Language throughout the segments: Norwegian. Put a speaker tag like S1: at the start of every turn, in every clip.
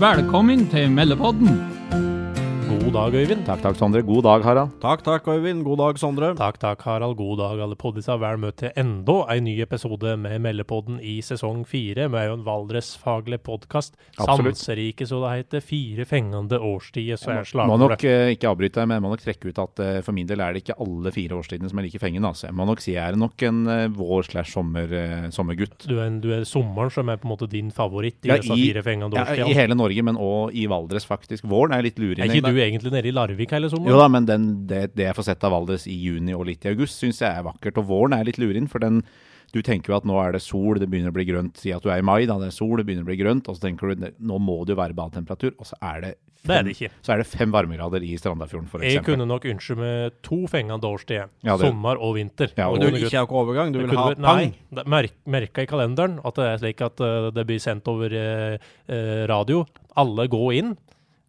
S1: Velkommen til Meldepodden.
S2: God dag, Øyvind. Takk, takk, Sondre. God dag, Harald.
S3: Takk, takk, Øyvind. God dag, Sondre.
S4: Takk, takk, Harald. God dag, alle poddisa. Vel møtt til enda en ny episode med Meldepodden i sesong fire. Vi er jo en Valdres-faglig podkast.
S2: Absolutt.
S4: Sanserike, så det heter. Fire fengende årstider, så er
S2: Må nok
S4: slagordet.
S2: eh, ikke avbryte deg, men jeg må nok trekke ut at eh, for min del er det ikke alle fire årstidene som er like fengende. Altså. Jeg må nok si jeg er nok en eh, vår slash sommer, eh, sommergutt.
S4: Du er, en- du er sommeren som er på en måte din favoritt i
S2: Ja,
S4: disse
S2: i-
S4: fire fengende
S2: Ja, I
S4: årstidene.
S2: hele Norge, men òg i Valdres, faktisk. Våren er litt luring.
S4: Er ikke du egentlig nede i Larvik hele sommeren?
S2: Jo da, men den, det, det jeg får sett av Valdres i juni og litt i august, syns jeg er vakkert. Og våren er litt lurin, for den, du tenker jo at nå er det sol, det begynner å bli grønt. Si at du er i mai, da det er sol, det begynner å bli grønt. Og så tenker du nå må det jo være badetemperatur, og så er det
S4: Det er det ikke.
S2: Så er det fem varmegrader i Strandafjorden,
S4: Jeg
S2: f.eks.
S4: kunne nok ønske med to fengende årstider.
S2: Ja, det-
S4: sommer og vinter.
S2: Ja,
S4: Og
S2: og
S3: Du
S4: kunne
S3: vil ikke ha noen overgang, du
S4: Det
S3: vil
S4: kunne
S3: ha
S4: vært-
S3: pang.
S4: Nei, det merk, merka i kalenderen at det er slik at eh, det blir sendt over eh, eh, radio. Alle går inn.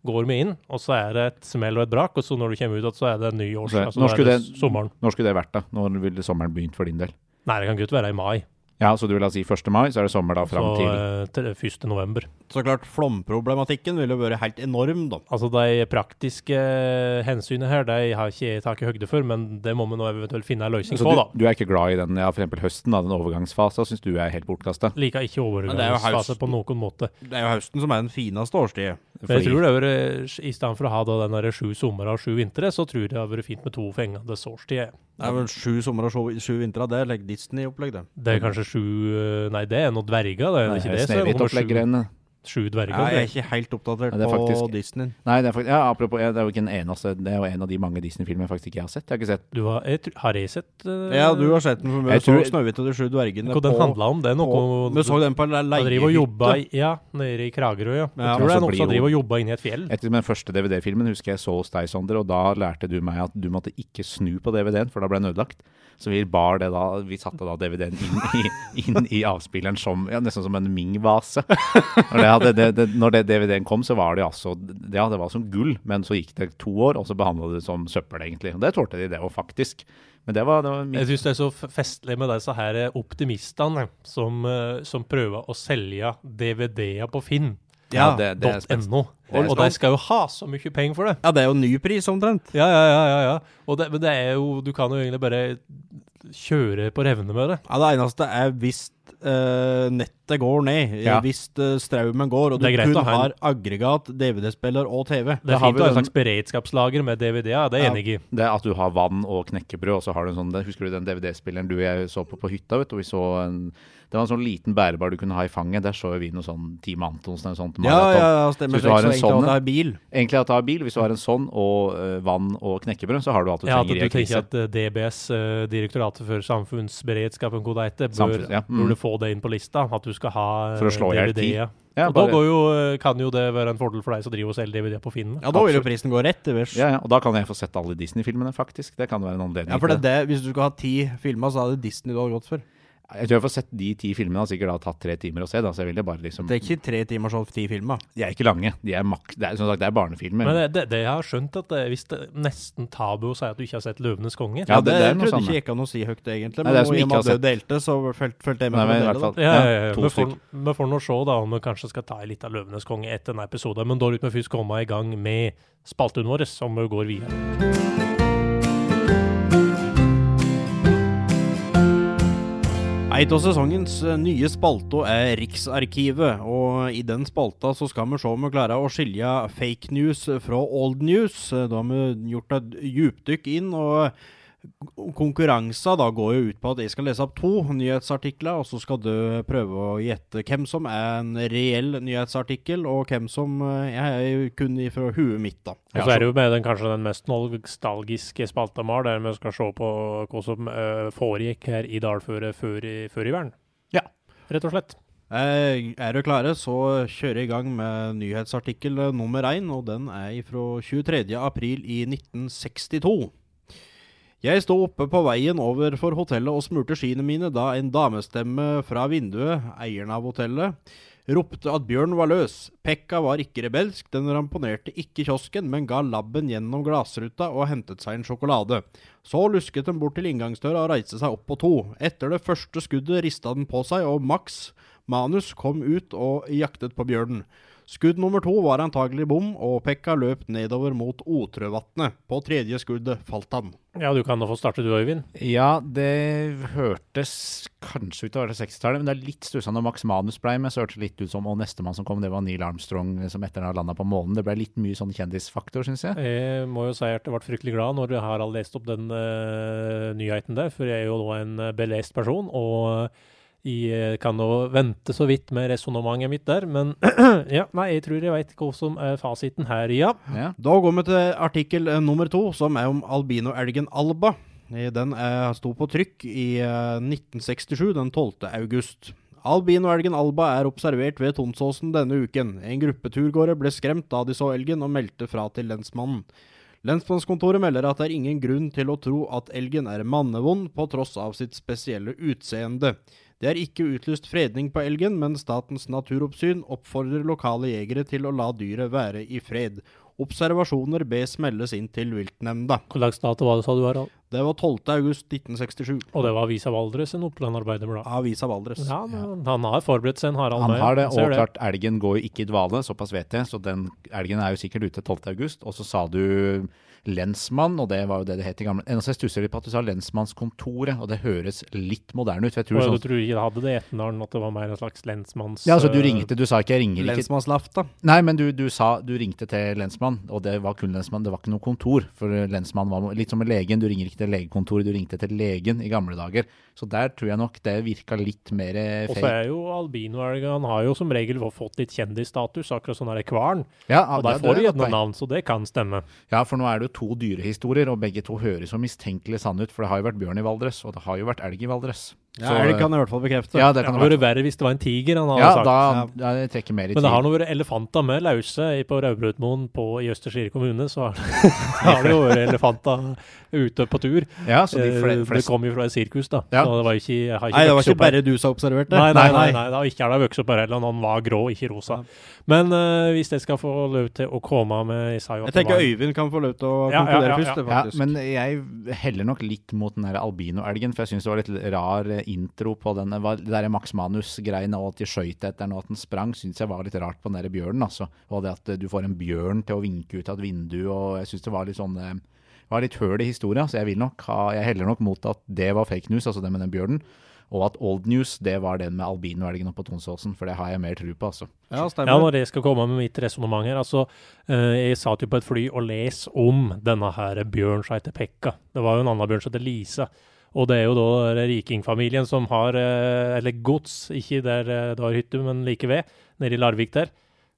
S4: Går vi inn, og så er det et smell og et brak, og så når du kommer ut, at så er det en ny års,
S2: Så,
S4: altså,
S2: når
S4: da er det
S2: skulle det-
S4: sommeren.
S2: Når skulle det vært, da? Når ville sommeren begynt for din del?
S4: Nei, det kan godt være i mai,
S2: Ja, så du vil da si 1. mai, så er det sommer da fram
S4: så
S2: til
S4: eh, til 1. november.
S3: Så klart, flomproblematikken ville vært helt enorm, da.
S4: Altså de praktiske eh, hensynene her, de har ikke jeg tatt i høyde for, men det må vi nå eventuelt finne en
S3: Altså,
S4: løsning
S2: Så
S4: på, da.
S2: du, du er ikke glad i den, ja, for eksempel høsten, da, den overgangsfasen, syns du er helt bortkasta?
S4: Liker ikke
S3: Men det er jo
S4: overgangsfase
S3: haust-
S4: på noen måte.
S3: Det er jo høsten som er den fineste årstida.
S4: Men jeg tror det er, eh, I stedet for å ha da den der sju sommer og sju vintre, så tror jeg det har vært fint med to fengende årstider.
S3: Det er vel sju somre og sju- sju vintre. Det er like Disney-opplegg, det.
S4: Det er kanskje sju eh, Nei, det er noen dverger, det er
S2: Eh,
S4: ikke det? så er det noe med sju,
S2: Snehvit-opplegggreiene.
S4: sju
S3: Jeg
S4: dverger.
S3: er
S4: det.
S3: ikke helt oppdatert
S2: Ja, det er
S3: på
S2: faktisk-
S3: Disney.
S2: Nei, det er faktisk, ja, apropos, ja, det er jo ikke en eneste Det er jo en av de mange Disney-filmer jeg faktisk ikke jeg har sett. Jeg har ikke sett
S4: Du har, jeg, tr- har jeg sett eh,
S3: Ja, du har sett den for
S2: Jeg
S3: meg. Så
S2: tror-
S3: Snøhvit og de sju dvergene
S4: hva den handla om? Det er noe
S3: på- Vi så den på en
S4: Han driver og jobber
S3: leiehytte.
S4: i- Ja, nede i Kragerø, ja. Jeg
S3: Ja.
S4: tror det
S2: Altså,
S4: er noen som
S2: blir jo-
S4: driver og jobber inni et fjell.
S2: Etter den første DVD-filmen husker jeg så hos deg, Sondre, og da lærte du meg at du måtte ikke snu på DVD-en, for da ble den ødelagt. Så vi bar det da Vi satte da DVD-en inn, i- inn i avspilleren som ja, nesten som en Ming-vase. Når, det hadde- det, det, når det DVD-en kom, så var det altså Ja, det var som gull, men så gikk det to år, og så behandla det som søppel, egentlig. Og det tålte de, det òg, faktisk. Men det var, det var
S4: Jeg
S2: min,
S4: syns det er så f- festlig med disse her eh, optimistene som, eh, som prøver å selge DVD-er på Finn.no.
S3: Ja,
S2: det, det er spes-
S4: Og, og de skal jo ha så mye penger for det.
S3: ja, det er jo ny pris, omtrent.
S4: Ja, ja, ja. ja, ja. Og det, men det er jo Du kan jo egentlig bare kjøre på revne med det.
S3: Ja, Det eneste er hvis eh, nettet går ned, eh,
S2: Ja.
S3: hvis eh, strømmen går, og du
S4: Det er greit
S3: kun
S4: å ha en-
S3: har aggregat, DVD-spiller og TV.
S4: Det
S2: Da
S4: er
S2: har
S4: fint
S2: vi
S4: å ha en
S2: jo en
S4: slags beredskapslager med DVD-er, det er jeg enig i.
S2: Det er at du har vann og knekkebrød, og så har du en sånn det- Husker du den DVD-spilleren du og jeg så på på hytta, vet du? og Vi så en Det var en sånn liten bærebar du kunne ha i fanget. Der så jo vi noe sånn Team Antonsen eller sånt.
S3: Ja,
S2: maraton.
S3: ja, ja,
S2: Så
S3: stemmer.
S2: hvis du
S3: Så
S2: har
S3: jeg
S2: en
S3: så egentlig
S2: sånn
S3: at det er bil.
S2: Egentlig at du har bil. Hvis du har en sånn og eh, vann og knekkebrød, så har du alt du
S4: Ja, at
S2: trenger
S4: du
S2: i en
S4: tenker
S2: krise.
S4: at eh, DBS, eh, Direktoratet for samfunnsberedskap, en god eite, bør,
S2: Samfunns- ja, mm.
S4: burde få det inn på lista. At du skal ha eh,
S2: For å slå i hjel tid.
S4: DVD-er.
S2: Ja,
S4: og da
S2: bare-
S4: går jo, eh, kan jo det være en fordel for deg som driver og selger DVD på Finn.
S3: Ja, da vil jo prisen gå rett til værs.
S2: ja, ja, og da kan jeg få sett alle Disney-filmene, faktisk. Det kan være en anledning
S3: Ja, for
S2: til
S3: det er det, hvis du skal ha ti filmer, så er det Disney du hadde gått for.
S2: Jeg tror jeg får sett de ti filmene. Det har sikkert da tatt tre timer å se, da, så jeg ville bare liksom
S3: Det er ikke tre timer sånn ti filmer.
S2: De er ikke lange. De er maks Det er, som sagt, det er barnefilmer.
S4: Men det, det, det jeg har skjønt, at det, hvis det er nesten tabu å si at du ikke har sett 'Løvenes konge'
S2: Ja, det- det er noe sånn,
S3: trodde ikke jeg kan å si høyt,
S2: Nei,
S3: egentlig. Men
S2: det er
S3: nå
S2: som
S3: i
S2: ikke
S3: og med
S2: har
S3: at du delte, så følte, følte
S2: Nei,
S3: jeg med på
S2: men i
S3: det.
S2: hvert
S3: da.
S2: fall
S4: Ja, ja, ja.
S2: to
S4: Vi
S2: stykk.
S4: får, vi får nå se da om vi kanskje skal ta en liten Løvenes konge etter denne episoden. Men da vil vi først komme i gang med spalten vår, som vi går videre.
S3: Et av sesongens eh, nye spalter er Riksarkivet, og i den spalta så skal vi se om vi klarer å skilje fake news fra old news. Eh, Da har vi gjort et djupdykk inn, og eh, konkurranser da går jo ut på at jeg skal lese opp to nyhetsartikler, og så skal du prøve å gjette hvem som er en reell nyhetsartikkel, og hvem som eh, er kun fra huet mitt, da.
S4: Og så er det jo med den kanskje den mest nostalgiske spalta vi har, der vi skal se på hva som eh, foregikk her i dalføret før, i- før i verden.
S3: Ja.
S4: Rett og slett.
S3: Eh, Er du klare, så kjører jeg i gang med nyhetsartikkel eh, nummer én, og den er fra 23. april i 1962. Jeg sto oppe på veien over for hotellet og smurte skiene mine da en damestemme fra vinduet, eieren av hotellet, ropte at bjørnen var løs. Pekka var ikke rebelsk, den ramponerte ikke kiosken, men ga labben gjennom glassruta og hentet seg en sjokolade. Så lusket den bort til inngangsdøra og reiste seg opp på to. Etter det første skuddet rista den på seg, og Max Manus kom ut og jaktet på bjørnen. Skudd nummer to var antagelig bom, og Pekka løp nedover mot Otrøvatnet. På tredje skuddet falt han.
S4: Ja, du kan da få starte du, Øyvind.
S2: Ja, det hørtes kanskje ut til å være 60-tallet, men det er litt stussende når Max Manus ble med, så hørtes det litt ut som og nestemann som kom, det var Neil Armstrong som etter han landa på månen. Det ble litt mye sånn kjendisfaktor, syns jeg.
S4: Jeg må jo si at jeg ble fryktelig glad når Harald leste opp den eh, nyheten der, for jeg er jo nå en eh, belest person, og jeg eh, kan nå vente så vidt med resonnementet mitt der, men ja, nei, jeg tror jeg veit hva som er fasiten her, ja.
S2: Ja.
S3: Da går vi til artikkel eh, nummer to, som er om albinoelgen Alba. Eh, Den eh, sto på trykk i eh, 1967, den 12. august. Albinoelgen Alba er observert ved Tonsåsen denne uken. En gruppe turgåere ble skremt da de så elgen, og meldte fra til lensmannen. Lensmannskontoret melder at det er ingen grunn til å tro at elgen er mannevond, på tross av sitt spesielle utseende. Det er ikke utlyst fredning på elgen, men Statens naturoppsyn oppfordrer lokale jegere til å la dyret være i fred. Observasjoner bes meldes inn til viltnemnda.
S4: Hvor slags dato var det, sa du, Harald?
S3: Det var 12.8.1967.
S4: Og det var Avisa Valdres, en Oppland-arbeiderblad.
S3: Avisa Valdres.
S4: Ja, men han har forberedt seg, en Harald.
S2: Han
S4: Meyer.
S2: har det,
S4: Ser
S2: og klart elgen går jo ikke i dvale, såpass vet jeg, så den elgen er jo sikkert ute 12. august. Og så sa du lensmann, og det var jo det det het i gamle Eneste jeg stusser litt på at du sa lensmannskontoret, og det høres litt moderne ut. for jeg tror
S4: Og
S2: sånn...
S4: du tror ikke det hadde det i Etnedalen, at det var mer en slags lensmanns...
S2: Ja, altså du
S4: eh,
S2: ringte, du sa ikke 'jeg ringer ikke'.
S3: Lensmannslafta.
S2: Nei, men du, du sa du ringte til lensmann, og det var kun lensmann, det var ikke noe kontor. For lensmann var litt som med legen, du ringer ikke til legekontoret, du ringte til legen i gamle dager. Så der tror jeg nok det virka litt mer eh,
S4: Og så
S2: fake.
S4: er jo albinoelgen, han har jo som regel fått litt kjendisstatus, akkurat sånn er det kvarn.
S2: Ja,
S4: Og der
S2: ja, det
S4: får
S2: er
S4: du
S2: et
S4: gjerne
S2: poeng.
S4: navn, så det kan stemme.
S2: Ja, for nå er det jo to dyrehistorier, og begge to høres jo mistenkelig sanne ut. For det har jo vært bjørn i Valdres, og det har jo vært elg i Valdres.
S3: Ja, elg kan jeg i hvert fall bekrefte.
S2: ja, det
S4: Det
S2: kan
S4: hadde
S2: det være.
S4: vært verre hvis det var en tiger, han hadde
S2: Ja,
S4: sagt.
S2: da ja, jeg trekker mer i
S4: Men det har
S2: tid.
S4: nå vært elefanter med lause i- på Raubrødmoen på- i Østre Slidre kommune, så har har det jo vært elefanter ute på tur.
S2: Ja, så de
S4: Eh,
S2: fle-
S4: Det
S2: flest...
S4: kom jo fra et sirkus, da.
S2: Ja.
S4: Så det var ikke, jeg har ikke
S3: Nei, det var
S4: vokst
S3: ikke
S4: opp her.
S3: bare du som observerte.
S4: Nei, nei, nei,
S2: Nei.
S4: nei, det har ikke er det vokst opp her heller. Han var grå, ikke rosa. Men eh, hvis jeg skal få lov til å komme med Jeg sa jo at
S3: Jeg
S4: det var
S3: tenker Øyvind kan få lov til å
S4: Ja, ja,
S3: konkludere
S4: ja,
S3: først, det,
S2: Ja,
S3: faktisk.
S2: men jeg heller nok litt mot den der albinoelgen, for jeg syns det var litt rar eh, intro på den hva- det der Max Manus-greiene, og at de skøyt etter den, og at den sprang, syns jeg var litt rart på den der bjørnen, altså. Og det at eh, du får en bjørn til å vinke ut av et vindu, og jeg syns det var litt sånn eh, var litt høl i historia, så jeg vil nok ha, jeg heller nok mot at det var fake news, altså det med den bjørnen, og at old news, det var den med albinoelgen oppe på Tonsåsen, for det har jeg mer tro på, altså.
S3: Ja,
S4: Ja,
S3: stemmer.
S4: når jeg skal komme med mitt resonnement her. Altså, eh, jeg satt jo på et fly og les om denne her bjørn som heter Pekka. Det var jo en annen bjørn som heter Lisa. Og det er jo da den rikingfamilien som har, eh, eller gods, ikke der eh, det var hytte, men like ved, nede i Larvik der,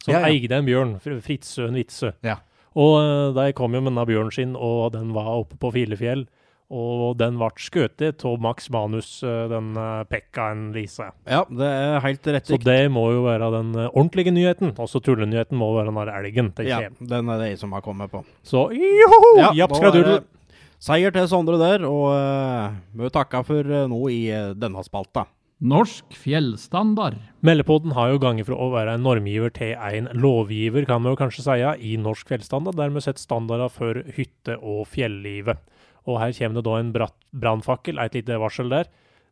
S4: som
S2: Ja, ja.
S4: eide en bjørn, Fr- Fritzøen Witzøe.
S2: Ja.
S4: Og eh, de kom jo med denne bjørnen sin, og den var oppe på Filefjell. Og den ble skutt av Max Manus, eh, den eh, Pekka en Lisa.
S3: Ja, det er helt rett.
S4: Så det må jo være den eh, ordentlige nyheten. Også tullenyheten må være den der elgen.
S3: Ja,
S4: tenker jeg.
S3: den er det jeg som har kommet på.
S4: Så joho!
S3: nå
S4: Oh, Japp skal
S3: er
S4: du
S3: det Seier til Sondre der, og uh, vi takker for eh, nå i eh, denne spalta.
S1: Norsk fjellstandard.
S4: Meldepoden har jo ganger fra å være en normgiver til en lovgiver, kan man jo kanskje si, i norsk fjellstandard. Dermed sett standarder for hytte- og fjellivet. Og her kommer det da en bratt- brannfakkel, et lite varsel der.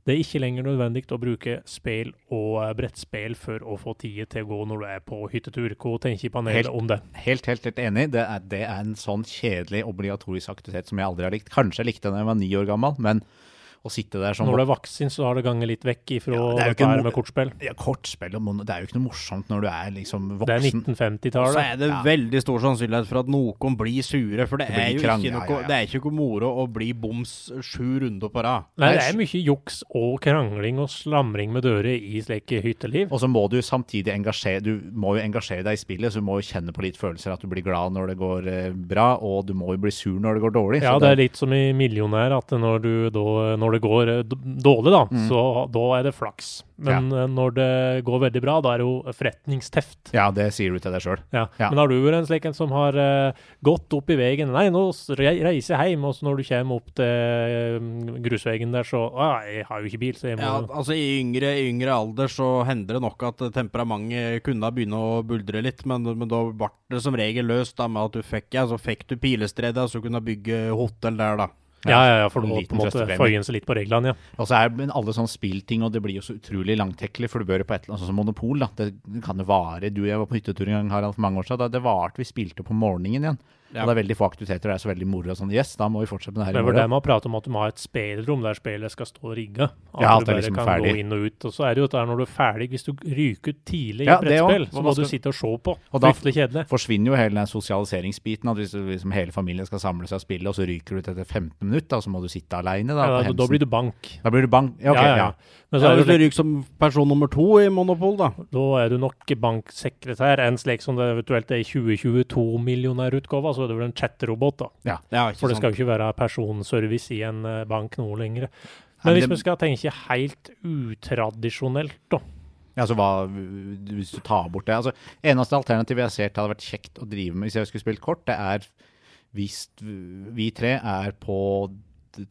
S4: Det er ikke lenger nødvendig å bruke spel og eh, brettspel for å få tida til å gå når du er på hyttetur. Hva tenker panelet
S2: Helt-
S4: om det?
S2: Helt, helt, helt enig. Det er, det er en sånn kjedelig obligatorisk aktivitet som jeg aldri har likt. Kanskje jeg likte den da jeg var ni år gammel, men å sitte der som
S4: Når du er vaksin, så har det ganger litt vekk ifra
S2: Ja, det er jo
S4: dette
S2: ikke
S4: her
S2: mo-
S4: med kortspill.
S2: ja, Kortspill og mono, det er jo ikke noe morsomt når du er liksom
S4: Det er
S2: voksen.
S4: 1950-tallet.
S3: Så er det veldig stor sannsynlighet for at noen blir sure, for det,
S2: Det blir
S3: er jo
S2: krang,
S3: ikke
S2: ja,
S3: noe,
S2: ja, ja.
S3: Det er ikke noe moro å bli boms sju runder på rad.
S4: Nei, det er mye juks og krangling og slamring med dører i slike hytteliv.
S2: Og så må du samtidig engasjere Du må jo engasjere deg i spillet, så du må jo kjenne på litt følelser at du blir glad når det går eh, bra, og du må jo bli sur når det går dårlig.
S4: Ja,
S2: Så
S4: det er litt som i Millionær, at når, du da, når det går eh, d- dårlig, da, så da er det flaks. Men eh, når det går veldig bra, da er det jo forretningsteft.
S2: ja, det sier du til deg sjøl.
S4: Ja.
S2: Ja.
S4: Men har du vært en slik en som har eh, gått opp i veien Nei, nå s- re- reiser jeg hjem, og så når du kommer opp til eh, grusveien der, så ah, Jeg har jo ikke bil, så jeg må
S3: Ja, altså I yngre, i yngre alder så hender det nok at temperamentet kunne begynne å buldre litt, men, men da ble det som regel løst da med at du fikk, ja, så fikk du pilestredet, så kunne du bygge hotell der, da.
S4: Ja, ja, ja, for du må
S2: Liten
S4: på en måte
S2: trøstepremie.
S4: føye seg litt på reglene, ja.
S2: Og så er men alle sånne spillting, og det blir jo så utrolig langtekkelig, for du bør jo på et eller annet sånn som Monopol, da. Det kan jo vare. Du og jeg var på hyttetur en gang Harald, for mange år siden. Da det varte vi spilte på morgenen igjen.
S3: Ja.
S2: Og det er veldig få aktiviteter, det er så veldig moro og sånn. Yes, da må vi fortsette med det her
S4: Det
S2: i
S4: var der
S2: morgen.
S4: man prater om at du må ha et spelrom der spelet skal stå rigga. At
S2: Ja,
S4: du
S2: at det er
S4: bare
S2: liksom
S4: kan
S2: ferdig.
S4: gå inn og ut. Og så er det jo at det er når du er ferdig, hvis du ryker ut tidlig
S2: Ja,
S4: i
S2: det
S4: brettspill,
S2: også.
S4: så
S2: Hva man
S4: må du
S2: skal-
S4: sitte og se på.
S2: Og da-
S4: Fryktelig kjedelig.
S2: Forsvinner jo hele den sosialiseringsbiten, at hvis liksom hele familien skal samle seg og spille, og så ryker du ut etter 15 minutter, og så må du sitte aleine da.
S4: Ja, altså,
S2: på
S4: da, da
S2: hemsen.
S4: blir du bank.
S2: da blir du bang. Ja, ok,
S4: Ja, ja, ja.
S2: ja.
S4: Men så
S3: Ja,
S4: er
S3: hvis
S4: det jo
S3: du
S4: slik,
S3: ryker som person nummer to i Monopol, da.
S4: da er du nok banksekretær, en slik som det eventuelt er i 2022-millionærutgava, så er det vel en chatterobot, da.
S3: Ja, ikke
S4: For det
S3: sant.
S4: skal jo ikke være personservice i en eh, bank noe lenger. Men
S2: Men
S4: hvis
S2: det-
S4: vi skal tenke helt utradisjonelt, da.
S2: Ja, altså hva, hvis du tar bort det. Altså, eneste alternativet jeg ser til hadde vært kjekt å drive med hvis jeg skulle spilt kort, det er hvis vi tre er på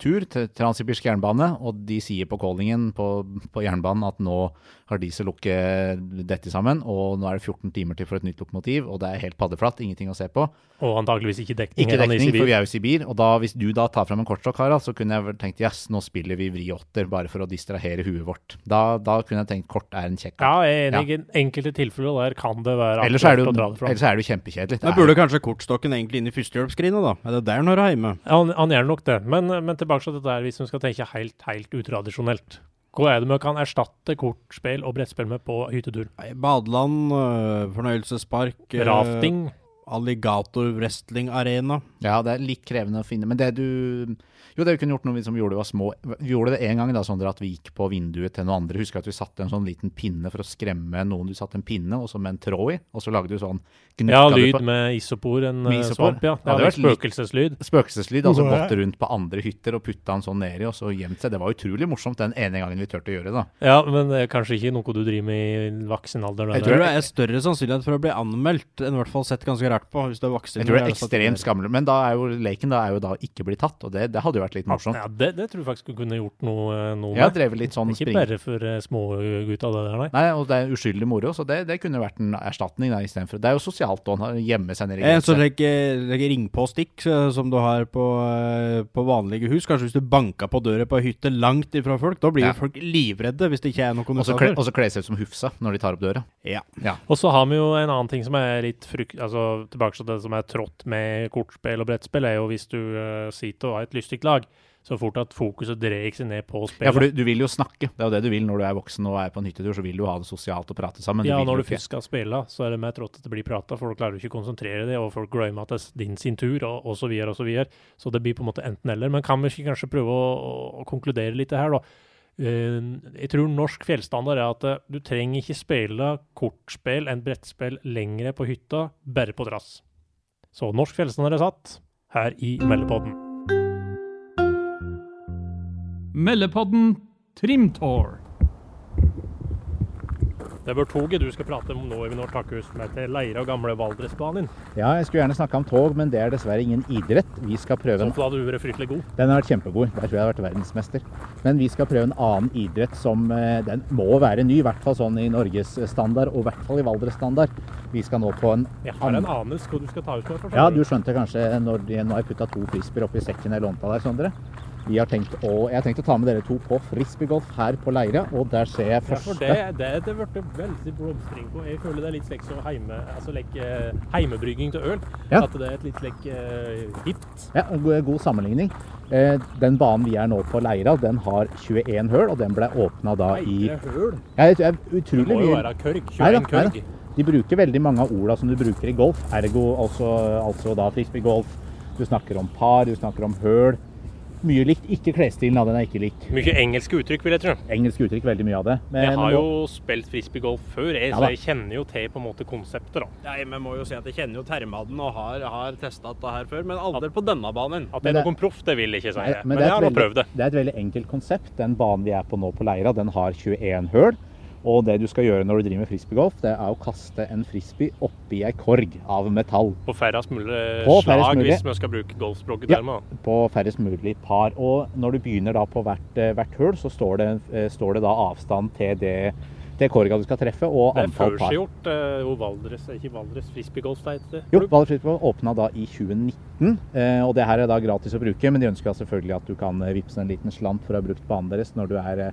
S2: tur til Transsibirsk jernbane, og de sier på callingen på, på jernbanen at nå har diesellokket dette sammen, og nå er det 14 timer til for et nytt lokomotiv, og det er helt paddeflatt, ingenting å se på.
S4: Og antakeligvis ikke dekning.
S2: Ikke
S4: eller han er i
S2: dekning,
S4: sivil.
S2: for vi er jo i Sibir. Og da, hvis du da tar frem en kortstokk, Harald, så kunne jeg vel tenkt yes, nå spiller vi vri åtter, bare for å distrahere huet vårt. Da, da kunne jeg tenkt kort er en kjekk
S4: Ja, jeg er enig. I enkelte tilfeller der kan det være
S2: Ellers er det
S4: aktuelt
S2: jo,
S4: å dra det fram.
S2: ellers er det jo kjempekjedelig. Det
S3: Da
S2: er
S3: burde kanskje kortstokken egentlig inn i førstehjelpsskrinet, da. Er det der den hører hjemme?
S4: Ja, han, han gjør nok det. Men, men tilbake til dette her, hvis vi skal tenke helt, helt utradisjonelt. Hva er det vi kan erstatte kortspill og brettspill med på hyttetur?
S3: Nei, Badeland, øh, fornøyelsespark øh,
S4: Rafting?
S3: Alligator Wrestling Arena.
S2: Ja, det er litt krevende å finne. Men det du Jo, det vi kunne gjort når vi som gjorde det var små Vi gjorde det en gang da, Sondre, at vi gikk på vinduet til noen andre. Husker at vi satte en sånn liten pinne for å skremme noen. Du satte en pinne og så med en tråd i, og så lagde du sånn gnukka
S4: Ja,
S2: du
S4: lyd
S2: på-
S4: med isopor, en
S2: Med
S4: eh,
S2: isopor?
S4: svamp, ja.
S2: Ja,
S4: Det
S2: det
S4: hadde
S2: var
S4: vært
S2: litt-
S4: spøkelseslyd.
S2: Spøkelseslyd, altså gått rundt på andre hytter og putta den sånn nedi, og så gjemt seg. Det var utrolig morsomt den ene gangen vi turte å gjøre det, da.
S4: Ja, men det er kanskje ikke noe du driver med i voksen alder.
S2: Jeg
S4: det der.
S3: Jeg tror det er større sannsynlighet for å bli anmeldt enn i hvert fall sett ganske rart på. Hvis du er voksen.
S2: Jeg tror det er
S3: eller sånn. satt i
S2: ekstremt skammelig. Men da er jo leken da er jo da ikke bli tatt, og det, det hadde jo vært litt morsomt.
S4: Ja, det, det tror jeg faktisk du kunne gjort noe, eh, noe
S2: Jeg har
S4: med.
S2: drevet litt sånn
S4: ikke
S2: spring...
S4: bare for eh, smågutta, det der, nei.
S2: Nei, og det er uskyldig moro, så det, det kunne vært en erstatning da, istedenfor. Det er jo sosialt å ha- gjemme seg nede i
S3: Eh, Så
S2: gresset.
S3: legg, legg ringpåstikk eh, som du har på, eh, på vanlige hus. Kanskje hvis du banka på døra på ei hytte langt ifra folk. Da blir
S2: Ja.
S3: jo folk livredde hvis det ikke er noe
S2: Og så kle-
S3: kondensator.
S2: og så kle seg ut som Hufsa når de tar opp døra.
S3: Ja.
S4: Og så har vi jo en annen ting som er litt frykt... Altså, tilbake til det som er trått med kortspill og brettspill, er jo hvis du eh, sitter og har et lystig lag, så fort at fokuset dreier seg ned på spillet.
S2: Ja, for du, du vil jo snakke. Det er jo det du vil når du er voksen og er på en hyttetur. Så vil du ha det sosialt og prate sammen.
S4: Ja,
S2: vil
S4: når
S2: jo
S4: du
S2: ikke-
S4: først skal spille, så er det mer trått at det blir prata, for da klarer du ikke å konsentrere deg, og folk glemmer at det er din sin tur, og, og så videre, og så videre. Så det blir på en måte enten-eller. Men kan vi ikke kanskje prøve å, å- å konkludere litt her, da? Eh, jeg tror norsk fjellstandard er at eh, du trenger ikke spille kortspill enn brettspill lengre på hytta, bare på drass. Så norsk fjellstandard er satt her i Meldepodden.
S1: Meldepodden Trimt År.
S4: Det bør toget du skal prate om nå, Evinor Takhus, med til Leira og gamle Valdresbanen.
S2: Ja, jeg skulle gjerne snakka om tog, men det er dessverre ingen idrett. Vi skal prøve
S4: Så
S2: en
S4: da hadde du vært fryktelig god.
S2: Den har vært kjempegod. Der tror jeg jeg har vært verdensmester. Men vi skal prøve en annen idrett som eh, den må være ny, i hvert fall sånn i Norges standard, og i hvert fall i Valdres standard. Vi skal nå på en
S4: Jeg har en anelse hva du skal ta ut med. for
S2: Ja,
S4: sånn.
S2: du skjønte kanskje når de, nå har jeg putta to frisbeer oppi sekken jeg lånte av deg, Sondre. Vi har tenkt å, jeg har tenkt å ta med dere to på frisbeegolf her på Leira, og der ser jeg
S4: Ja, for
S2: første
S4: det, det, det ble veldig blomstring på. Jeg føler det er litt slik som heime, altså like, eh, heimebrygging til øl.
S2: Ja.
S4: At det er et litt slik eh, hipt.
S2: Ja, go- god sammenligning. Eh, Den banen vi er nå på Leira, den har 21 høl, og den ble åpna da i
S4: Eitre høl.
S2: ja, det er
S4: Det
S2: utrolig
S4: må jo
S2: mye
S4: være kørg.
S2: Nei
S4: 21
S2: da, nei da.
S4: kørg.
S2: De bruker veldig mange av orda som du bruker i golf, ergo altså, altså da frisbeegolf. Du snakker om par, du snakker om høl. Mye likt. Ikke klesstilen, da. Den er ikke lik.
S4: Mye engelske uttrykk, vil jeg tro.
S2: Engelsk uttrykk, veldig mye av det. Men-
S4: Jeg har jo spilt frisbeegolf før, jeg,
S2: Ja
S4: så
S2: da.
S4: jeg kjenner jo til på en måte konseptet. da.
S3: Nei, men jeg må jo si at jeg kjenner jo termaden og har, har testa dette her før, men aldri på denne banen.
S4: At jeg
S2: Men
S4: er
S2: det-
S4: noen proff, det vil jeg ikke si.
S2: Nei,
S4: Men,
S2: men det,
S4: jeg
S2: er
S4: har
S2: et
S4: nå
S2: veldig,
S4: prøvd det.
S2: det er et veldig enkelt konsept. Den banen vi er på nå på Leira, den har 21 høl. Og det du skal gjøre når du driver med frisbeegolf, det er å kaste en frisbee oppi ei korg av metall
S4: På færrest mulig
S2: På færrest
S4: slag,
S2: mulig.
S4: hvis vi skal bruke golfspråket
S2: Ja.
S4: dermed.
S2: på færrest mulig par. Og når du begynner da på hvert, eh, hvert høl, så står det, eh, står det da avstand til det riktige korga du skal treffe, og
S4: Det er
S2: antall par.
S4: førsgjort. eh, hvor Valdres, ikke Valdres, frisbeegolf det heter.
S2: Jo, Valdres Friidrettsforbund åpna da i 2019, eh, og det her er da gratis å bruke. Men de ønsker da selvfølgelig at du kan eh, vippse en liten slant for å ha brukt banen deres når du er eh,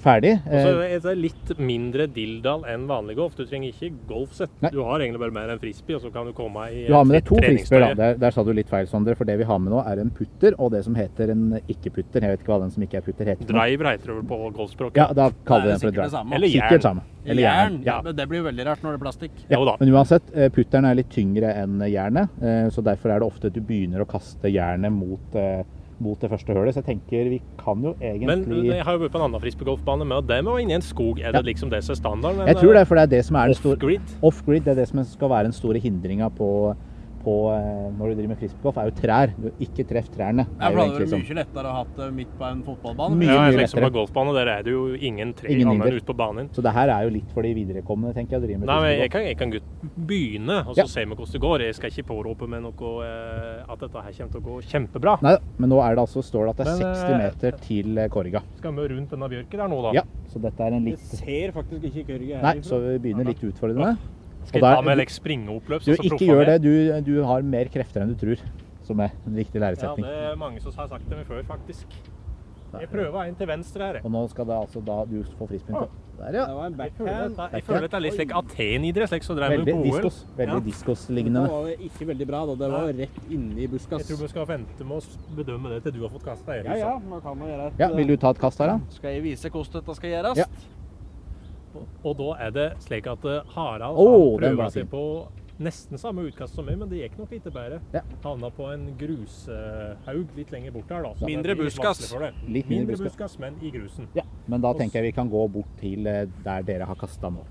S2: ferdig.
S4: Og så
S2: Eh,
S4: er det litt mindre dilldall enn vanlig golf. Du trenger ikke golfsett.
S2: Nei.
S4: Du har egentlig bare mer enn frisbee, og så kan du komme i
S2: Du har med deg to
S4: treningstøyet.
S2: frisbeer, da. Der, der sa du litt feil, Sondre. For det vi har med nå, er en putter og det som heter en ikke-putter. Jeg vet ikke hva den som ikke er putter, heter. for noe.
S4: Driver heter det vel på golfspråket.
S2: Ja, da kaller vi
S5: det
S2: den for
S5: sikkert det
S2: en drive.
S5: samme.
S4: Eller jern.
S2: Sikkert samme.
S5: Eller jern. Ja.
S2: Ja.
S5: men det blir jo veldig rart når det er plastikk.
S2: Ja,
S4: Jo da.
S2: Men uansett, eh, putteren er litt tyngre enn jernet, eh, så derfor er det ofte at du begynner å kaste jernet mot, eh, mot det første hølet. Så jeg tenker vi kan jo
S4: Men eh,
S2: egentlig
S4: jeg har jo vært på en annen frisbeegolfbane med, og det må inne i en skog. Er det liksom det som er standarden?
S2: Jeg tror det, for det er det som er den store
S4: Off-grid.
S2: Off-grid det er det som skal være den store hindringa på, på eh, når du driver med frisbeegolf, er jo trær. Du ikke treff trærne.
S5: Ja, for da hadde
S2: er jo
S5: det vært
S2: egentlig sånn.
S5: mye lettere å ha hatt det midt på en fotballbane.
S2: Mye,
S4: Ja,
S2: mye
S4: slik som
S2: lettere.
S4: på golfbane, der er det jo ingen tre
S2: Ingen
S4: annet
S2: hinder.
S4: enn ute på banen.
S2: sånn. Så det her er jo litt for de viderekomne, tenker jeg. å drive med
S4: Nei, men jeg
S2: frisbeegolf.
S4: kan, jeg kan godt begynne, og
S2: Ja.
S4: så ser vi hvordan det går. Jeg skal ikke påråpe med noe eh, at dette her kommer til å gå kjempebra.
S2: Nei, men nå er det altså, står det at det er
S4: Men, eh,
S2: 60 meter til eh, korga.
S4: Skal vi rundt denne bjørken der nå, da?
S2: Ja, så dette er en litt
S4: ser faktisk ikke Kørge
S2: Nei, så vi begynner litt utfordrende.
S4: Skal
S2: Og
S4: jeg
S2: der-
S4: ta med like, springeoppløp?
S2: Du,
S4: sånn som
S2: ikke
S4: proffene
S2: gjør det.
S4: gjør?
S2: Du, du har mer krefter enn du tror, som er en viktig
S4: Ja,
S2: læresetning.
S4: det er mange som har sagt det meg før, faktisk. Jeg prøver en til venstre her. jeg.
S2: Og nå skal det altså da du få frispinn på. Der, ja.
S5: var en
S4: Jeg føler dette, jeg
S2: Backhand.
S4: føler dette er litt slik Aten-idrett, slik som drev med
S2: Veldig
S4: på OL.
S2: diskos. Veldig
S4: Ja.
S2: diskoslignende.
S5: var ikke veldig bra, da. Det
S4: var
S5: rett inne i
S4: Jeg
S5: buskas.
S4: tror vi skal vente med å bedømme det til du har fått kasta hele.
S5: Ja, ja, man kan jo gjøre et
S2: Ja,
S6: eh,
S2: vil du ta et kast her, da?
S5: Skal jeg vise hvordan dette skal gjøres?
S2: Ja.
S4: Og da er det slik at eh, Harald han
S2: Åh, den var
S4: prøver seg
S2: fin.
S4: på nesten samme utkast som meg, men det gikk nok litt bedre.
S2: Ja.
S4: Havna på en grushaug litt lenger bort her, da. så det
S5: Mindre
S4: blir litt
S5: buskas.
S4: vanskelig for det.
S2: Litt mindre
S4: Mindre
S2: buskas.
S4: buskas, men i grusen.
S2: Ja, men da tenker jeg vi kan gå bort til eh, der dere har kasta nå.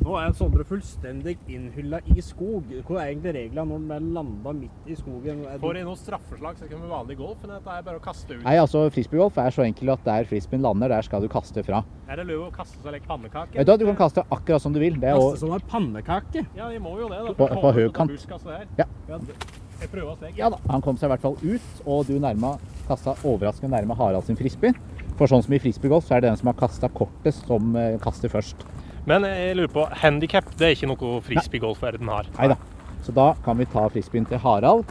S6: Nå er Sondre fullstendig innhylla i skog. Hvor er egentlig reglene når den er landa midt i skogen? Er
S4: Får
S6: det-
S4: jeg noe straffeslag, så kan vi vanlig golf, men dette er bare å kaste ut.
S2: Nei, altså Frisbeegolf er så enkelt at der frisbeen lander, der skal du kaste fra.
S4: Er det lov å kaste seg litt pannekake?
S2: Vet du hva, du kan kaste akkurat som du vil. Det er
S6: Kaste
S2: også,
S6: som en pannekake.
S4: Ja, vi må jo det. da.
S2: På-
S4: for å
S2: på
S4: holde
S2: høy
S4: dette
S2: kant.
S4: buskaset altså, her.
S2: Ja.
S4: det- Jeg prøver å steke.
S2: ja da, han kom seg i hvert fall ut, og du nærma kasta overraskende nærme Harald sin frisbee. For sånn som i frisbeegolf, så er det den som har kasta kortest, som eh, kaster først.
S4: Men eh, jeg lurer på, handicap, det er ikke noe frisbeegolfverden har.
S2: Nei da. Så da kan vi ta frisbeen til Harald.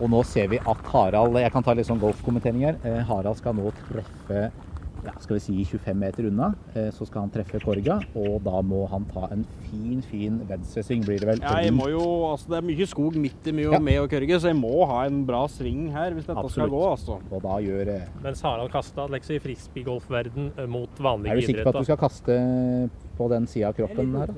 S2: Og nå ser vi at Harald Jeg kan ta litt sånn golfkommentering her. Eh, Harald skal nå treffe ja, skal vi si 25 meter unna. Eh, så skal han treffe korga, og da må han ta en fin, fin venstresving, blir det vel.
S6: Ja, jeg må jo, altså Det er mye skog midt i mye
S2: Ja.
S6: med og kørge, så jeg må ha en bra sving her hvis dette
S2: Absolutt.
S6: skal gå. altså.
S2: Og da gjør eh,
S4: Mens Harald kasta liksom, i frisbeegolfverden eh, mot vanlige
S2: Er du sikker på at du
S4: idretter.
S2: skal kaste på den sida av kroppen her? da?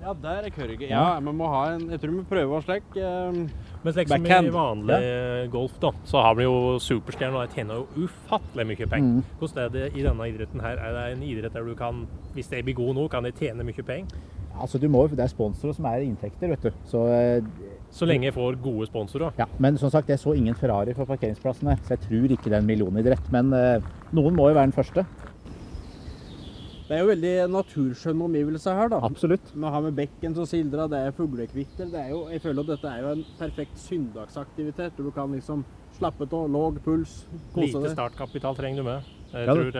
S6: Ja, der er kørge. Ja, vi må ha en, Jeg tror vi prøver en slik. ehm,
S4: Men slik som liksom i
S6: Backhand.
S4: vanlig eh, golf, da, så har vi jo superstjerner, og de tjener jo ufattelig mye
S2: Mm.
S4: penger. Hvordan er det i denne idretten her? Er det en idrett der du kan, hvis de blir gode nå, kan de tjene mye penger?
S2: Altså, du må, jo- det er sponsorer som er inntekter, vet du. Så eh,
S4: Så lenge jeg får gode sponsorer.
S2: Ja, men som sagt, jeg så ingen Ferrari fra parkeringsplassen her, så jeg tror ikke det er en millionidrett. Men eh, noen må jo være den første.
S6: Det er jo veldig naturskjønne omgivelser her, da.
S2: Absolutt.
S6: Vi har med bekken som sildrer, det er fuglekvitter. Det er jo, jeg føler at dette er jo en perfekt søndagsaktivitet. Du kan liksom slappe av, låg puls, kose
S4: Lite
S6: deg.
S4: startkapital trenger du med. Jeg
S2: Ja,
S4: tror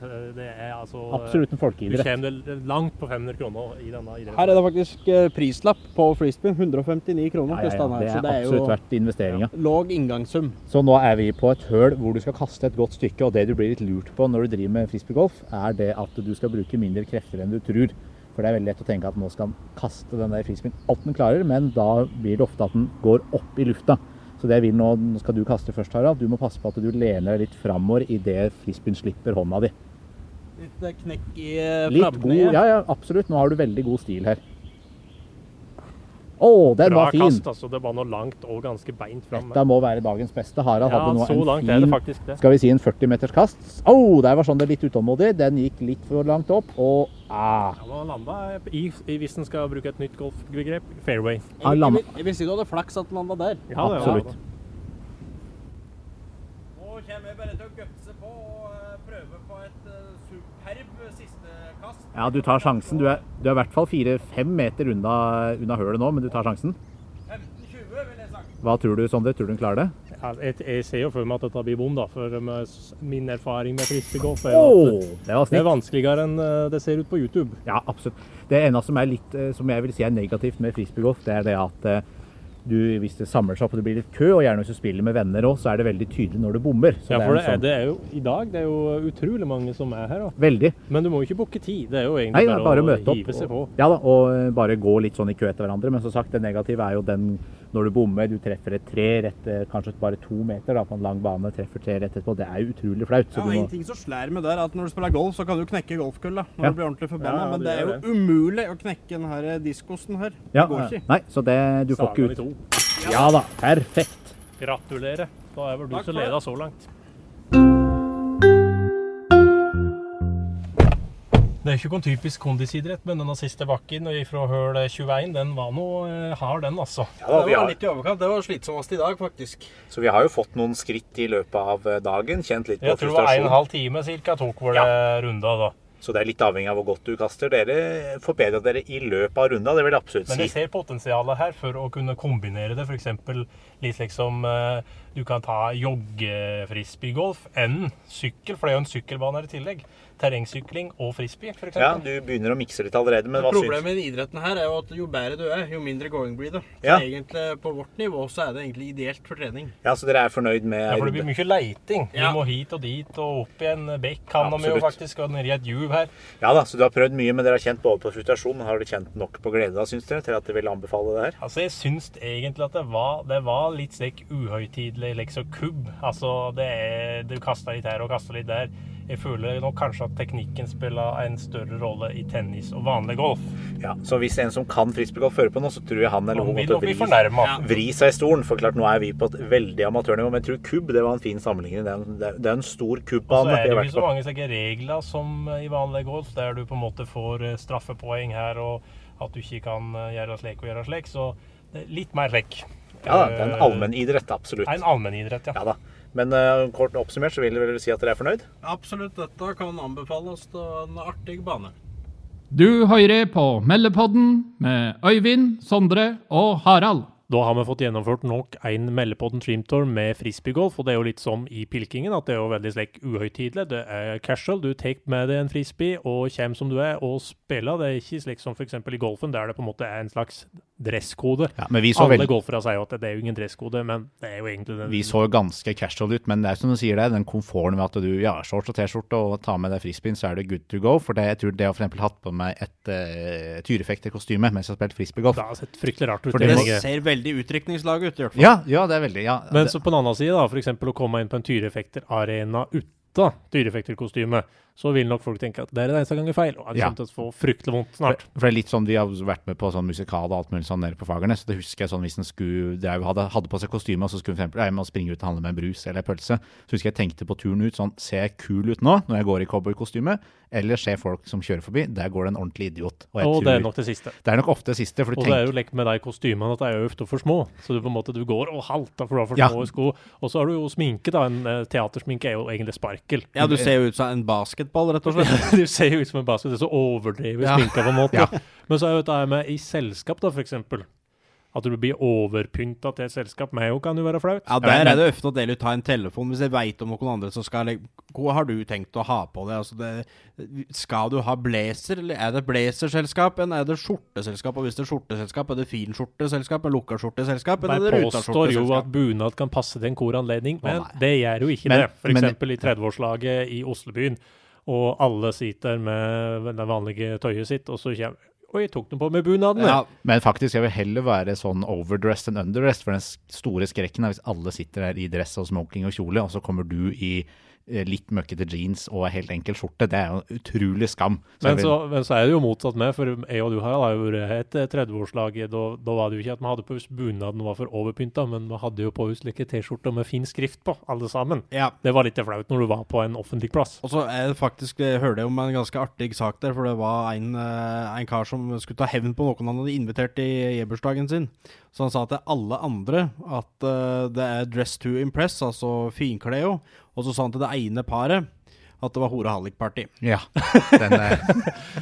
S4: det, det er altså eh,
S2: Absolutt en
S4: Du
S2: folkeidrett.
S4: kommer deg langt på 500 kroner i denne idretten.
S6: Her er det faktisk eh, prislapp på frisbeen. 159 kroner.
S2: Ja, ja, ja.
S6: koster den
S2: Det
S6: her, så
S2: er
S6: det er
S2: absolutt
S6: jo
S2: verdt investeringa.
S6: låg inngangssum.
S2: Så nå er vi på et høl hvor du skal kaste et godt stykke, og det du blir litt lurt på når du driver med frisbeegolf, er det at du skal bruke mindre krefter enn du tror. For det er veldig lett å tenke at nå skal han kaste den der frisbeen alt den klarer, men da blir det ofte at den går opp i lufta. Så det jeg vil nå, nå skal du kaste først, Harald. Du må passe på at du lener deg litt framover idet frisbeen slipper hånda di.
S3: eh,
S6: Litt knekk i
S2: Litt god, ja, ja, absolutt. Nå har du veldig god stil her. Å, den
S4: Bra
S2: var fin!
S4: kast, altså. Det var noe langt og ganske beint fram.
S2: Dette må være dagens beste. Harald
S4: Ja,
S2: hadde nå
S4: så
S2: en
S4: langt er det
S2: fin
S4: faktisk det.
S2: skal vi si en 40 meters kast. Å, der var sånn det er litt utålmodig. Den gikk litt for langt opp, og ah,
S4: Ja, men han landa i, i, hvis en skal bruke et nytt golfbegrep, fairway.
S2: han
S6: Jeg,
S2: landa.
S6: vil- jeg vil si du hadde flaks at den landa der.
S4: Ja, det var
S2: Absolutt.
S4: det.
S5: Nå kommer jeg bare til å gutse på og eh, prøve på et eh, superb siste kast.
S2: Ja, du tar sjansen. Du er, du er i hvert fall fire-fem meter unna, unna hølet nå, men du tar sjansen.
S5: 15-20, vil jeg sagt.
S2: Hva tror du, Sondre? Tror du hun klarer det?
S4: Ja,
S7: Altså, Jeg, jeg ser jo for meg at dette blir bom, da,
S4: eh,
S7: for med s- min erfaring med frisbeegolf er jo at
S2: Åh, det var
S7: det er
S2: snilt.
S7: vanskeligere enn eh, det ser ut på YouTube.
S2: Ja, absolutt. Det ene som, er litt, eh, som jeg vil si er negativt med frisbeegolf, det er det at eh, du, hvis det samler seg opp og det blir litt kø, og gjerne hvis du spiller med venner òg, så er det veldig tydelig når du bommer. Så
S7: Ja,
S2: det
S7: for
S2: er
S7: det er,
S2: en sånn,
S7: det er jo i dag det er jo utrolig mange som er her. da.
S2: veldig.
S7: Men du må jo ikke booke tid. Det er jo
S2: Nei,
S7: egentlig
S2: det er bare å møte
S7: hive seg
S2: opp.
S7: på.
S2: Og, ja da, og eh, bare gå litt sånn i kø etter hverandre. Men som sagt, det negative er jo den når du bommer, du treffer et tre rett eh, kanskje bare to meter da, på en lang bane, treffer tre rett etterpå. Det er jo utrolig flaut. Så
S3: Ja,
S2: du
S3: En
S2: må
S3: ting som slår meg der, er at når du spiller golf, så kan du knekke golfkølla. Når
S2: Ja.
S3: du blir ordentlig forbanna.
S7: Ja, ja,
S3: men
S7: du
S3: det er
S7: gjør
S3: jo umulig å knekke den her eh, diskosen her.
S2: ja,
S3: det går ikke.
S2: Nei, så det, du får ikke
S7: Sagan i
S2: ut
S7: to.
S2: Ja da, perfekt.
S4: Gratulerer. Da er vel du som leder så langt.
S7: Det er ikke noen typisk kondisidrett, men denne siste bakken fra høl 21, den var nå eh, hard, den, altså.
S3: det var litt i overkant. Det var slitsommest i dag, faktisk.
S2: Så vi har jo fått noen skritt i løpet av eh, dagen, kjent litt
S4: Jeg tror det var en og en halv time cirka tok vår ja. runda da.
S2: Så det er litt avhengig av hvor godt du kaster. Dere forbedra dere i løpet av runda, det vil jeg absolutt
S4: Men jeg ser potensialet her for å kunne kombinere det. F.eks. litt liksom eh, Du kan ta joggefrisbeegolf enn sykkel, for det er jo en sykkelbane her i tillegg. Terrengsykling og frisbee, f.eks.
S2: Ja, du begynner å mikse litt allerede, men hva syns
S3: Problemet i idretten her er jo at jo bedre du er, jo mindre going blir det. Så
S2: Ja.
S3: egentlig på vårt nivå så er det egentlig ideelt for trening.
S2: Ja, så dere er fornøyd med
S4: Ja, for det blir mye leiting.
S3: Ja.
S4: Vi må hit og dit og opp i en bekk. Kan de jo
S2: Absolutt.
S4: faktisk gå ned i et juv her.
S2: Ja da, så du har prøvd mye, men dere har kjent både på frustrasjon, men har dere kjent nok på glede da, syns dere, til at dere vil anbefale det her?
S4: Altså, jeg syns egentlig at det var, det var litt slik uhøytidelig liksom kubb. Altså, det er Du kaster litt her og kaster litt der. Jeg føler nok kanskje at teknikken spiller en større rolle i tennis og vanlig golf.
S2: Ja, så hvis en som kan frisbeegolf hører på nå, så tror jeg han eller
S4: Man
S2: hun
S4: vil
S2: måtte
S4: nok bli
S2: vri,
S4: fornærma.
S2: vri seg i stolen. For klart, nå er vi på et veldig amatørnivå, men jeg tror kubb, det var en fin sammenligning. Det er en- Det er, det er en stor
S4: Så
S2: kubbane.
S4: Altså, er det
S2: vi
S4: jo
S2: har
S4: ikke
S2: vært
S4: så
S2: på.
S4: mange slike regler som i vanlig golf, der du på en måte får eh, straffepoeng her, og at du ikke kan eh, gjøre slik og gjøre slik. Så det er litt mer slik.
S2: Ja da, det er en allmennidrett, absolutt.
S4: En allmennidrett, ja.
S2: Ja da. Men eh, kort oppsummert så vil dere vel si at dere er fornøyd?
S3: Absolutt, dette kan anbefales til en artig bane.
S1: Du hører på Meldepodden med Øyvind, Sondre og Harald.
S4: Da har vi fått gjennomført nok en Meldepodden Trimtour med frisbeegolf, og det er jo litt som i pilkingen, at det er jo veldig slik uhøytidelig. Det er casual, du tar med deg en frisbee og kommer som du er og spiller. Det er ikke slik som f.eks. i golfen, der det på en måte er en slags dresskode.
S2: men vi
S4: Alle golfere sier jo at det er jo ingen dresskode, men det er jo egentlig den
S2: Vi så jo ganske casual ut, men det er som du sier det, den komforten med at du ja, shorts og T-skjorte og tar med deg frisbeen, så er det good to go. For det, jeg tror det å for eksempel hatt på meg et uh, tyrefekterkostyme mens jeg har spilt frisbeegolf
S4: Det har sett fryktelig rart ut.
S2: For
S4: i
S2: det
S3: Det
S2: må-
S4: Norge.
S3: ser veldig utdrikningslag ut, i hvert fall.
S2: Ja, ja, det er veldig ja.
S4: Men
S2: det-
S4: så på den annen side, da, f.eks. å komme inn på en Tyrefekter-arena uten Tyrefekter-kostyme, så vil nok folk tenke at det er det eneste gangen feil, og han
S2: Ja.
S4: kommer til å få fryktelig vondt snart.
S2: For det er litt sånn, Vi har vært med på sånn musikal og alt mulig sånn nede på Fagernes. så Det husker jeg sånn hvis en skulle, det er jo- hadde, hadde på seg kostyme, og så skulle en for eksempel, jeg må springe ut og handle med en brus eller en pølse. Så husker jeg tenkte på turen ut sånn Ser jeg kul ut nå, når jeg går i cowboykostyme? Eller ser folk som kjører forbi? Der går det en ordentlig idiot. jeg
S4: Og det
S2: tror-
S4: er nok det siste.
S2: det er nok ofte det siste. for du
S4: Og det
S2: tenker...
S4: er jo lekt med de kostymene at de er jo ofte for små. Så du på en måte du går og halter for du har for
S2: Ja.
S4: små sko. Og så har du jo sminke, da. En eh, teatersminke er jo egentlig sparkel.
S3: Ja, du ser jo ut som en basketball, rett og slett.
S4: du ser jo ut som en basket, det er så overdrevet
S2: Ja.
S4: sminka på en måte.
S2: Ja.
S4: Men så er jo dette her med i selskap, da, for eksempel. At du blir overpynta til et selskap. Meg òg kan jo være flaut.
S3: Ja, der er det ofte at jeg ta en telefon hvis jeg veit om noen andre som skal legge- Hva har du tenkt å ha på deg? Altså, det, skal du ha blazer, eller er det blazerselskap, eller er det skjorteselskap? Og hvis det er skjorteselskap, er det finskjorteselskap, eller lukkaskjorteselskap, eller er
S4: Jeg påstår
S3: det
S4: jo at
S3: rutaskjorteselskap?
S4: bunad kan passe til en hvor anledning, men
S2: nei.
S4: det gjør jo ikke
S2: Men-
S4: det. For
S2: men-
S4: eksempel i 30-årslaget i Oslobyen, og alle sitter med det vanlige tøyet sitt, og så kommer Oi, tok de på med bunadene?
S3: Ja,
S2: Men faktisk, jeg vil heller være sånn overdressed enn underdressed, for den s- store skrekken er hvis alle sitter her i dress og smoking og kjole, og så kommer du i eh, litt møkkete jeans og en helt enkel skjorte. Det er jo en utrolig skam. Så
S4: Men
S2: jeg vil-
S4: så, men så er det jo motsatt med, for jeg og du Harald har jo vært et 30-årslag. Da, da var det jo ikke at vi hadde på oss bunaden var for overpynta, men vi hadde jo på oss like T-skjorter med fin skrift på, alle sammen.
S3: ja.
S4: Det var litt flaut når du var på en offentlig plass.
S3: Og så er det faktisk, jeg hørte om en ganske artig sak der, for det var en, eh, en kar som skulle ta hevn på noen han hadde invitert i i bursdagen sin. Så han sa til alle andre at eh, det er dress to impress, altså finkleo. Og så sa han til det ene paret at det var hore-hallik-party.
S2: Ja. Den, eh,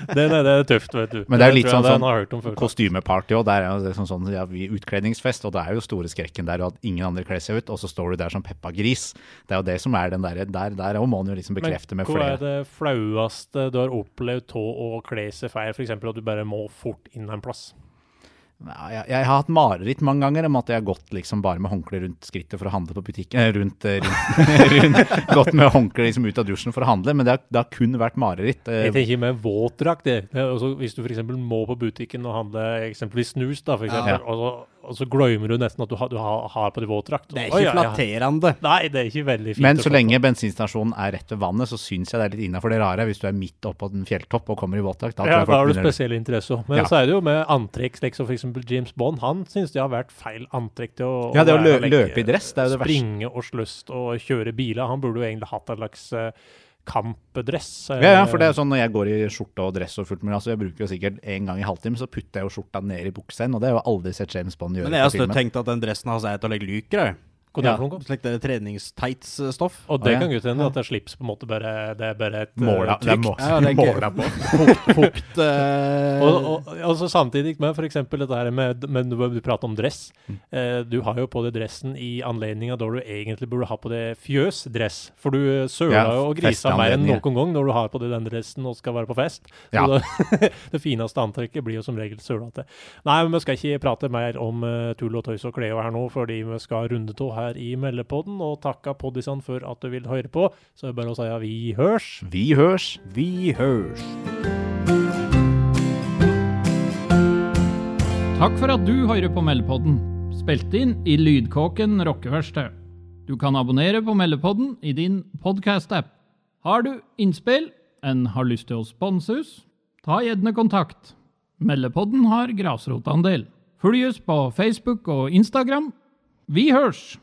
S4: Den er, det er tøft, vet du.
S2: Men det er jo litt
S4: tror jeg
S2: sånn-
S4: han har hørt om før.
S2: kostymeparty og der er jo det sånn, sånn ja, vi utkledningsfest, og det er jo store skrekken der og at ingen andre kler seg ut, og så står du der som Peppa Gris. Det er jo det som er den derre der, der og må han jo liksom bekrefte med
S4: Hva er
S2: flere.
S4: det flaueste du har opplevd av å kle seg feil, f.eks. at du bare må fort inn en plass?
S2: Ja, jeg, jeg har hatt mareritt mange ganger om at jeg har gått liksom bare med håndkle rundt skrittet for å handle på butikken. eh, Rundt, eh, rundt, rundt gått med håndkle liksom ut av dusjen for å handle, men det har, det har kun vært mareritt. eh,
S4: Jeg tenker med våtdrakt. det. Det er også Hvis du f.eks. må på butikken og handle eksempelvis snus, da, for eksempel,
S2: Ja.
S4: og, så, og så glemmer du nesten at du har, du har, har på deg våtdrakt.
S3: Det er
S4: Oi, ja,
S3: ikke
S4: ja.
S3: flatterende.
S4: Nei, det er ikke veldig fint.
S2: Men
S4: å få
S2: så lenge bensinstasjonen er rett ved vannet, så syns jeg det er litt innafor det rare. Hvis du er midt oppå en fjelltopp og kommer i våtdrakt, da
S4: på.
S2: tror
S4: Ja,
S2: jeg
S4: da har du
S2: folk begynner å
S4: spesiell interesse òg. Men
S2: Ja.
S4: så er det jo med antrekk, slik som f.eks. James Bond. Han syns det har vært feil antrekk til å
S2: Ja, det å lø
S4: være, like,
S2: løpe i dress, det er jo det verste.
S4: Springe og sløst og kjøre biler. Han burde jo egentlig hatt en slags eh, kampdress. eh,
S2: Ja, ja, for det er jo sånn når jeg går i skjorte og dress og fullt mulig, altså jeg bruker jo sikkert en gang i halvtimen, så putter jeg jo skjorta ned i buksen, og det har jeg jo aldri sett James Bond gjøre
S3: Men jeg har
S2: på
S3: støtt
S2: filmen.
S3: tenkt at den dressen hans er til å legge lyker, jeg.
S4: Hva er det
S2: Ja.
S4: for noe?
S3: Slik det er eh, treningstights-stoff.
S4: Og det
S2: Å, ja.
S4: kan godt hende at det er slips på en måte bare Det er bare et eh,
S2: Måla, det er må,
S3: Ja, det er gøy.
S2: måla på.
S3: Fukt eh,
S4: Og, og, og så samtidig med f.eks. dette her med, med du, du prater om dress.
S2: Mm.
S4: Eh, du har jo på deg dressen i anledninga da du egentlig burde ha på deg fjøsdress. For du eh, søla
S2: Ja,
S4: jo og grisa mer enn
S2: festanledninger.
S4: noen gang når du har på deg den dressen og skal være på fest. Så
S2: Ja.
S4: da, det fineste antrekket blir jo som regel sølete. Nei, men vi skal ikke prate mer om eh, tull og tøys og kleo her nå, fordi vi skal runde tå her i meldepodden. Og takka poddisene for at du vil høre på. Så er det bare å si ja, vi hørs.
S2: Vi hørs.
S3: Vi hørs.
S1: Takk for at du hører på Meldepodden, spilt inn i Lydkåken rockeverksted. Du kan abonnere på Meldepodden i din podcast-app. Har du innspill, en har lyst til å sponse oss, ta gjerne kontakt. Meldepodden har grasrotandel. Følg oss på Facebook og Instagram. Vi hørs!